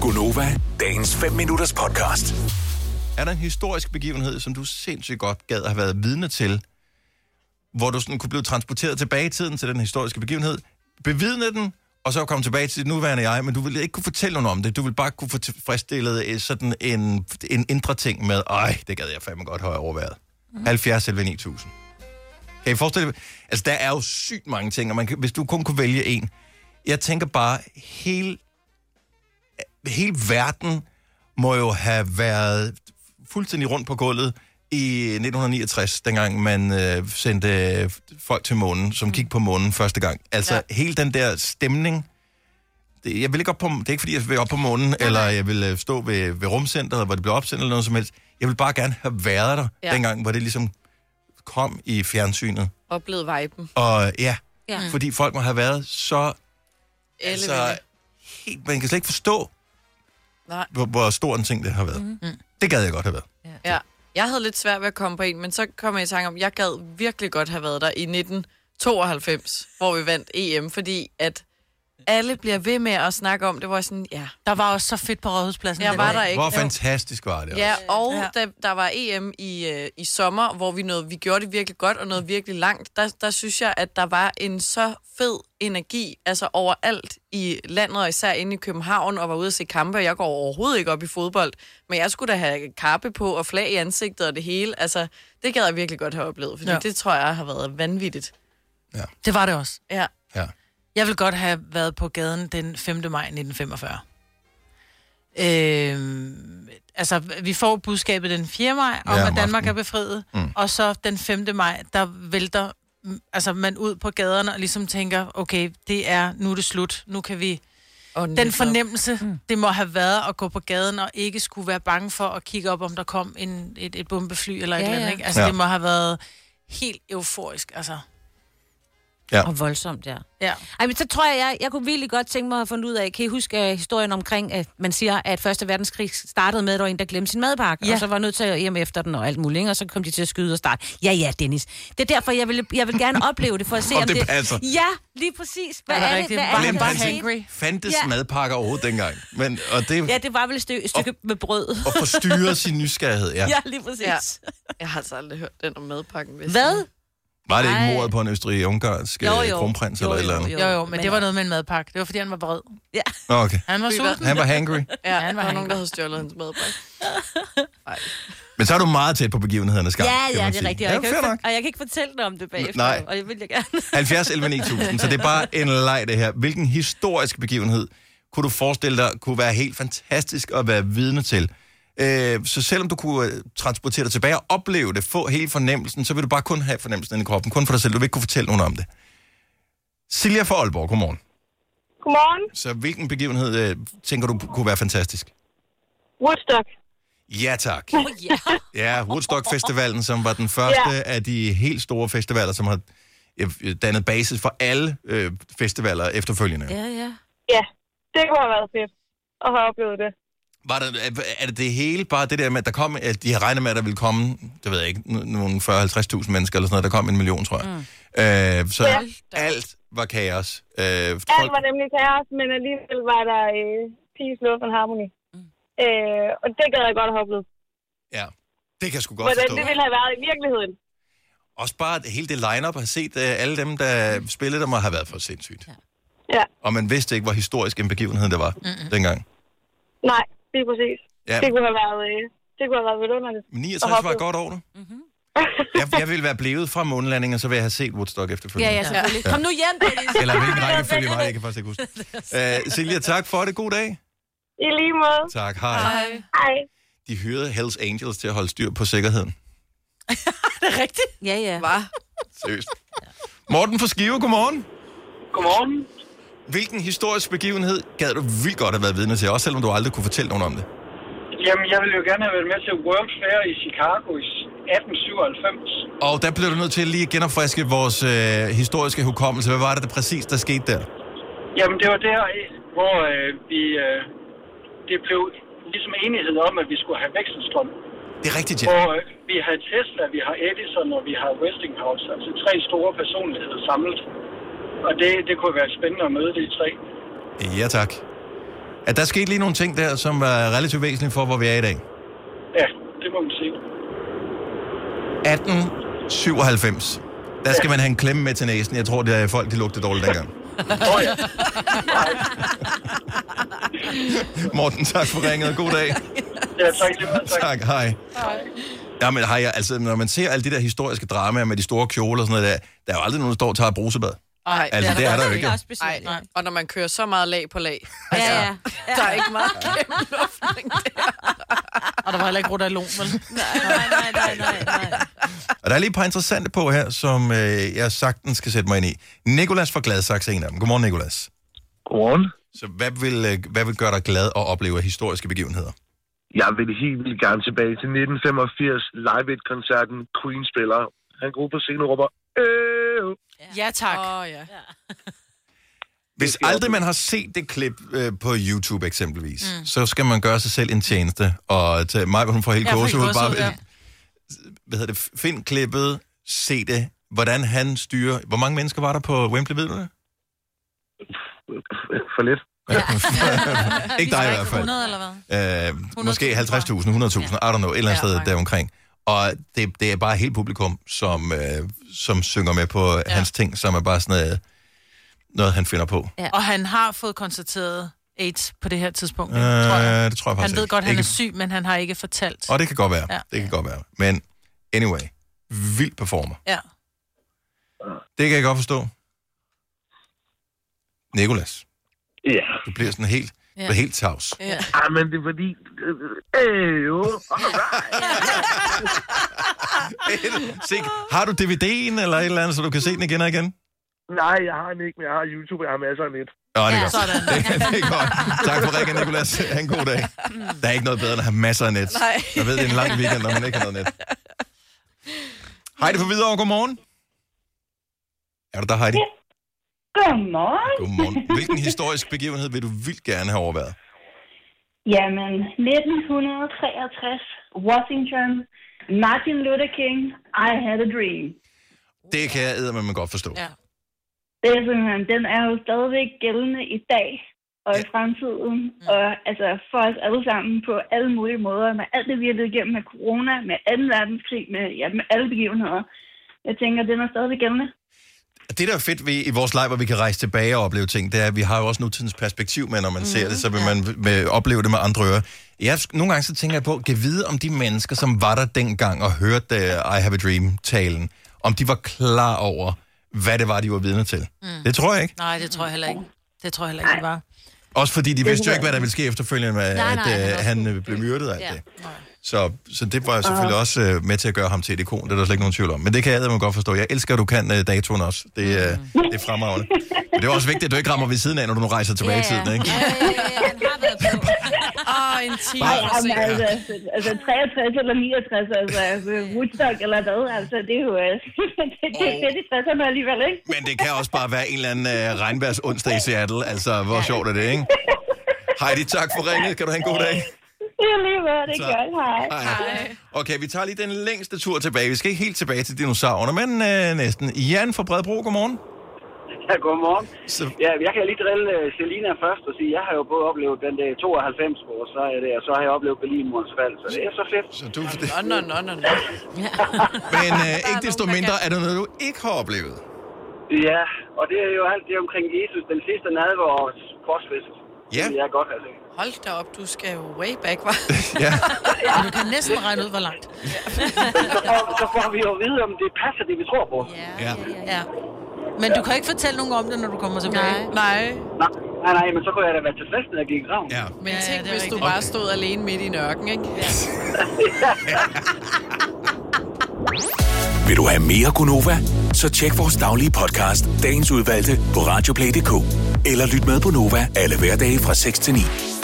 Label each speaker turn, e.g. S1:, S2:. S1: Gunova, dagens 5 minutters podcast.
S2: Er der en historisk begivenhed, som du sindssygt godt gad at have været vidne til, hvor du sådan kunne blive transporteret tilbage i tiden til den historiske begivenhed, bevidne den, og så komme tilbage til dit nuværende jeg, men du ville ikke kunne fortælle nogen om det. Du ville bare kunne få tilfredsstillet øh, sådan en, en indre ting med, ej, det gad jeg fandme godt have overværet. Mm. 70 selv 9000. Kan I forestille jer? Altså, der er jo sygt mange ting, og man kan, hvis du kun kunne vælge en. Jeg tænker bare, hele hele verden må jo have været fuldstændig rundt på gulvet i 1969, dengang man øh, sendte øh, folk til månen, som gik på månen første gang. Altså Mm. ja. hele den der stemning. Det, jeg vil ikke op på, det er ikke fordi, jeg vil op på månen, nej, eller jeg vil øh, stå ved, ved rumcenteret, hvor det blev opsendt eller noget som helst. Jeg vil bare gerne have været der ja.
S3: Ja.
S2: dengang, hvor det ligesom kom i fjernsynet.
S3: Oplevede viben.
S2: Og ja,
S3: Ja.
S2: ja. fordi folk må have været så altså,
S3: Altså...
S2: helt, man kan slet ikke forstå,
S3: Nej.
S2: hvor, hvor stor en ting det har
S4: Mhm.
S2: været. Mm. Det gad jeg godt have været.
S3: Ja. Jeg havde lidt svært ved at komme på en, men så kom jeg i tanke om, jeg gad virkelig godt have været der i 1992, hvor vi vandt EM, fordi at alle bliver ved med at snakke om det, hvor jeg sådan, ja,
S5: Der var også så fedt på Rådhuspladsen.
S3: jeg
S5: den
S3: var
S5: dag.
S3: der ikke.
S2: Hvor fantastisk var det
S3: Ja,
S2: også.
S3: og
S5: Ja.
S3: da der var EM i, øh, i sommer, hvor vi, nåede, vi gjorde det virkelig godt og nåede virkelig langt, der, der synes jeg, at der var en så fed energi, altså overalt i landet, og især inde i København, og var ude at se kampe, og jeg går overhovedet ikke op i fodbold, men jeg skulle da have kappe på og flag i ansigtet og det hele. Altså, det gad jeg virkelig godt have oplevet, fordi ja.
S5: Ja.
S3: det tror jeg har været vanvittigt.
S5: Det var det også.
S3: Ja,
S2: Ja.
S5: Jeg vil godt have været på gaden den 5. maj 1945. Øhm, altså, vi får budskabet den 4. maj, om
S2: Ja,
S5: ja,
S2: om
S5: at Danmark
S2: aftenen.
S5: er befriet, mm. og så den 5. maj, der vælter mm, altså, man ud på gaderne og ligesom tænker, okay, det er, nu er det slut, nu kan vi...
S3: Mm. og
S5: Den fornemmelse, mm. det må have været at gå på gaden og ikke skulle være bange for at kigge op, om der kom en, et, et bombefly eller et
S4: Ja,
S5: eller andet,
S4: ja.
S5: ikke? Altså,
S2: Ja.
S5: det må have været helt euforisk, altså.
S4: Og voldsomt, ja.
S5: Ja.
S4: Ej, men så tror jeg, jeg, jeg kunne virkelig godt tænke mig at finde ud af, kan I huske uh, historien omkring, at man siger, at Første Verdenskrig startede med, at der var en, der glemte sin madpakke,
S5: Ja.
S4: ja. og så var nødt til at hjem efter den og alt muligt, ikke? og så kom de til at skyde og starte. Ja, ja, Dennis. Det er derfor, jeg vil, jeg vil gerne opleve det, for at se,
S2: Om
S4: om,
S2: det passer.
S4: Ja, lige præcis. Hvad
S5: Er
S4: er,
S5: det
S4: det?
S5: rigtigt?
S4: Hvad
S5: Var
S4: er det,
S2: Glemte
S4: der
S2: han
S4: er
S2: sin-
S4: sket?
S2: Fandtes ja.
S4: Ja.
S2: madpakker overhovedet dengang. Men, og det
S4: Ja,
S2: ja.
S4: det var vel et stykke, et stykke med brød.
S2: og forstyrrede sin nysgerrighed. Ja. ja.
S4: Ja, lige præcis.
S3: Ja.
S4: Ja.
S3: Jeg har altså aldrig hørt den om madpakken. Hvis
S4: Hvad?
S2: Var det ikke
S4: Ej.
S2: mordet på en østrig-ungarsk
S4: Jo,
S2: øh,
S4: jo.
S2: kronprins
S4: Jo,
S2: eller et
S4: jo,
S2: eller andet?
S5: Jo, jo, men det var noget med en madpakke. Det var, fordi han var vred.
S2: Nå, Okay.
S5: Han var sulten.
S2: Han var hangry.
S3: Ja,
S5: han
S3: han var der var
S5: var
S3: nogen,
S5: hangry.
S3: der havde stjålet hans madpakke.
S2: Men så er du meget tæt på begivenhederne, Skar.
S4: Ja,
S2: kan
S4: ja,
S2: man
S4: det er
S2: sige.
S4: rigtigt. Og,
S2: Ja,
S4: jeg kan, jo
S2: fair
S4: ikke
S2: nok.
S4: for- og jeg kan ikke fortælle dig om det bagefter,
S2: Nej.
S4: og jeg vil jeg gerne.
S2: 70 11 9000, så det er bare en leg det her. Hvilken historisk begivenhed kunne du forestille dig kunne være helt fantastisk at være vidne til? Øh, så selvom du kunne øh, transportere dig tilbage og opleve det, få hele fornemmelsen, så vil du bare kun have fornemmelsen inde i kroppen, kun for dig selv. Du vil ikke kunne fortælle nogen om det. Silja fra Aalborg, godmorgen.
S6: Godmorgen.
S2: Så hvilken begivenhed øh, tænker du kunne være fantastisk?
S6: Woodstock.
S2: Ja tak. Ja, Woodstock-festivalen, som var den første ja. af de helt store festivaler, som har øh, dannet basis for alle øh, festivaler efterfølgende. Ja.
S4: Ja, ja.
S6: Ja, det kunne have været fedt at have oplevet det.
S2: Var der, er- er det det hele bare det der med, at der kom, at de har regnet med, at der ville komme, det ved jeg ikke, n- nogle 40-50.000 mennesker eller sådan noget, der kom en million, tror jeg. Mm. Øh, så
S6: Ja.
S2: ja. alt var kaos. Øh,
S6: Alt
S2: folk,
S6: var nemlig kaos, men alligevel var der øh, peace, love and harmony. Mm. Øh, og det gad jeg godt have oplevet.
S2: ja, det kan jeg sgu godt
S6: Hvordan
S2: forstå.
S6: det ville have været i virkeligheden.
S2: Også bare at hele det line-up, har set øh, alle dem, der spillede, der må have været for sindssygt. Ja.
S6: Ja,
S2: Og man vidste ikke, hvor historisk en begivenhed det var mm. dengang.
S6: nej, lige præcis.
S2: Ja.
S6: Det kunne have været, øh, det kunne have været vidunderligt.
S2: Men 69 var et godt år, du. Mm-hmm. jeg, jeg ville være blevet fra månelandingen, og så ville jeg have set Woodstock
S4: Ja,
S2: efterfølgende.
S4: ja, selvfølgelig. Kom nu hjem, Dennis.
S2: Eller hvilken rækkefølge var det, jeg kan faktisk ikke huske. Uh, Silja, tak for det. God dag.
S6: I lige måde.
S2: Tak, hej. hej.
S6: Hej.
S2: De hyrede Hells Angels til at holde styr på sikkerheden.
S4: Ja, ja.
S3: Var?
S2: Seriøst. Morten fra Skive, godmorgen.
S7: Godmorgen.
S2: Hvilken historisk begivenhed gad du vildt godt have været vidne til, også selvom du aldrig kunne fortælle nogen om det?
S7: Jamen, jeg ville jo gerne have været med til World's Fair i Chicago i 1897.
S2: Og der blev du nødt til lige at genopfriske vores øh, historiske hukommelse. Hvad var det, der præcis, der skete der?
S7: Jamen, det var der, øh, hvor øh, vi... Øh, det blev ligesom enighed om, at vi skulle have vekselstrøm.
S2: Det er rigtigt, ja.
S7: Hvor øh, vi har Tesla, vi har Edison og vi har Westinghouse. Altså tre store personligheder samlet. Og det, det kunne være spændende at møde de tre.
S2: Ja, tak. at der skete lige nogle ting der, som var relativt væsentlige for, hvor vi er i dag.
S7: Ja, det må man sige.
S2: 1897. Der skal man have en klemme med til næsen. Jeg tror, det er folk, de lugter dårligt dengang.
S7: Oh, ja.
S2: Morten, tak for ringet. God dag.
S7: ja, tak lige meget. Tak.
S2: Tak, hej. Jamen, hej. Altså, når man ser alle de der historiske dramaer med de store kjoler og sådan noget der, der er jo aldrig nogen, der står og tager et brusebad.
S3: Nej,
S2: Altså, det er der jo ikke.
S4: Det er også specielt.
S3: Nej, og når man kører så meget lag på lag,
S4: Ja, ja.
S3: der er ikke meget gennemluftning der.
S5: Og der var heller ikke rotalon, vel?
S4: Nej, nej, nej, nej, nej.
S2: Og der er lige et par interessante på her, som øh, jeg sagtens skal sætte mig ind i. Nikolas fra Gladsaxe er en af dem. Godmorgen, Nikolas.
S8: Godmorgen.
S2: Så hvad vil, øh, hvad vil gøre dig glad at opleve af historiske begivenheder?
S8: Jeg vil helt vildt gerne tilbage til 1985 live et koncerten Queen spiller. Han går ud på scenen og råber, Øh!
S5: Ja, tak.
S3: Åh, oh, ja.
S2: Hvis aldrig man har set det klip øh, på YouTube eksempelvis, mm. så skal man gøre sig selv en tjeneste. Og tage mig, hun får helt
S5: Jeg får helt
S2: gåsehud. Bare,
S5: gåsehud, ja.
S2: hvad hedder det? Find klippet, se det, hvordan han styrer. Hvor mange mennesker var der på Wembley, ved du det?
S8: For lidt.
S2: Ikke dig i hvert fald.
S5: 100 eller hvad?
S2: Øh, måske 50.000, 100.000,
S5: 100.000,
S2: I don't know, et eller andet
S3: Ja,
S2: sted
S3: mange.
S2: deromkring. Og det, det er bare helt publikum, som, øh, som synger med på ja. hans ting, som er bare sådan noget, noget han finder på.
S5: Og han har fået konstateret AIDS på det her tidspunkt, øh,
S2: Øh,
S5: tror jeg.
S2: det tror jeg faktisk
S5: Han ved
S2: ikke.
S5: godt, han
S2: ikke.
S5: er syg, men han har ikke fortalt.
S2: Og det kan godt være, ja.
S5: Ja.
S2: det kan godt være. Men anyway, vild performer.
S5: Ja.
S2: Det kan jeg godt forstå. Nikolas,
S8: Ja.
S2: du bliver sådan helt, ja. helt tavs.
S3: ja.
S8: Ej, Ah, men det er fordi... Øh, jo. Alright.
S2: se, har du DVD'en eller et eller andet, så du kan se den igen og igen?
S8: Nej, jeg har den ikke, men jeg har YouTube, jeg har masser af net.
S2: Nå, det er
S4: Ja,
S2: godt.
S5: sådan.
S2: Det, det er godt. Tak for ringen, Nicolas. Ha' en god dag. Der er ikke noget bedre end at have masser af net.
S3: Nej.
S2: Jeg ved, det er en lang weekend, når man ikke har noget net. Heidi på videre, godmorgen. Er du der, Heidi?
S9: Godmorgen.
S2: Godmorgen. Hvilken historisk begivenhed vil du vildt gerne have overværet?
S9: Jamen, 1963, Washington, Martin Luther King, I had a dream.
S2: Det kan jeg eddermame godt forstå.
S5: Ja.
S9: Det er simpelthen, den er jo stadigvæk gældende i dag og i fremtiden, og altså for os alle sammen på alle mulige måder, med alt det, vi har levet igennem med corona, med 2. verdenskrig, med, ja, med alle begivenheder. Jeg tænker, den er stadigvæk gældende.
S2: Det, der er fedt ved i vores liv, hvor vi kan rejse tilbage og opleve ting, det er, at vi har jo også nutidens perspektiv med, når man mm-hmm, ser det, så vil man med, opleve det med andre ører. Jeg, nogle gange så tænker jeg på, kan vide om de mennesker, som var der dengang og hørte uh, I Have a Dream-talen, om de var klar over, hvad det var, de var vidne til. Mm. Det tror jeg ikke.
S5: Nej, det tror jeg heller ikke. Det tror jeg heller ikke, det var.
S2: Også fordi de vidste jo ikke, hvad der ville ske efterfølgende, med,
S4: Nej, nej,
S2: at
S4: han
S2: øh,
S4: var
S2: han
S4: sgu-
S2: øh, blev myrdet af
S4: Ja. Ah.
S2: det. Så, så det var jo selvfølgelig også øh, med til at gøre ham til et ikon, det er der slet ikke nogen tvivl om. Men det kan jeg man godt forstå. Jeg elsker, at du kan øh, datoen også. Det, øh,
S4: Mm.
S2: det er fremragende. Men det er også vigtigt, at du ikke rammer ved siden af, når du nu rejser tilbage i tiden, ikke?
S4: Ja, ja, ja, han har været på.
S3: Åh, oh, en time
S9: Ej,
S3: for
S9: jamen,
S3: sent.
S9: altså, altså 63 eller 69, altså Woodstock eller hvad, altså det er jo øh, det, det, er fedt i 60'erne alligevel, ikke?
S2: Men det kan også bare være en eller anden øh, regnværs onsdag i Seattle. Altså, hvor sjovt er det, ikke? Heidi, tak for ringet. Kan du have en god dag?
S9: Det er lige hvad det
S2: Så-
S9: gør, hej.
S2: Hej. Okay, vi tager lige den længste tur tilbage. Vi skal ikke helt tilbage til dinosaurerne, men øh, næsten. Jan fra Bredebro, godmorgen.
S7: Ja, godmorgen.
S2: Så,
S7: Ja, jeg kan lige drille øh, Selina først og sige, jeg har jo både oplevet den der 92 og så, er det, og så har jeg oplevet Berlinmurens fald, så det er så fedt.
S2: så du,
S3: Nå, nå, nå, nå, nå.
S2: men øh, ikke desto
S3: nogen, der
S2: mindre
S3: kan.
S2: er det noget, du ikke har oplevet.
S7: Ja, og det er jo alt det omkring Jesus, den sidste nadvårs korsfest.
S2: Ja.
S7: Det vil jeg godt have set.
S3: Hold da op, du skal jo way back, var.
S2: Ja.
S5: Og du kan næsten regne ud, hvor langt.
S7: Så får, så får vi jo at vide, om det passer det, vi tror på.
S4: Ja,
S2: Ja.
S4: ja,
S5: Ja.
S4: ja.
S5: Men du kan ikke fortælle nogen om det, når du kommer tilbage.
S4: Nej.
S3: Nej,
S7: Nej, nej, nej, men så kunne jeg da være til festen, og gik i graven.
S2: ja.
S3: men
S5: Ja,
S3: tænk,
S5: det er
S3: hvis du
S5: rigtigt.
S3: bare stod alene midt i en ørken, ikke? Ja.
S1: Vil du have mere Gunova? Så tjek vores daglige podcast, dagens udvalgte, på radioplay.dk. Eller lyt med på Nova alle hverdage fra 6 til 9.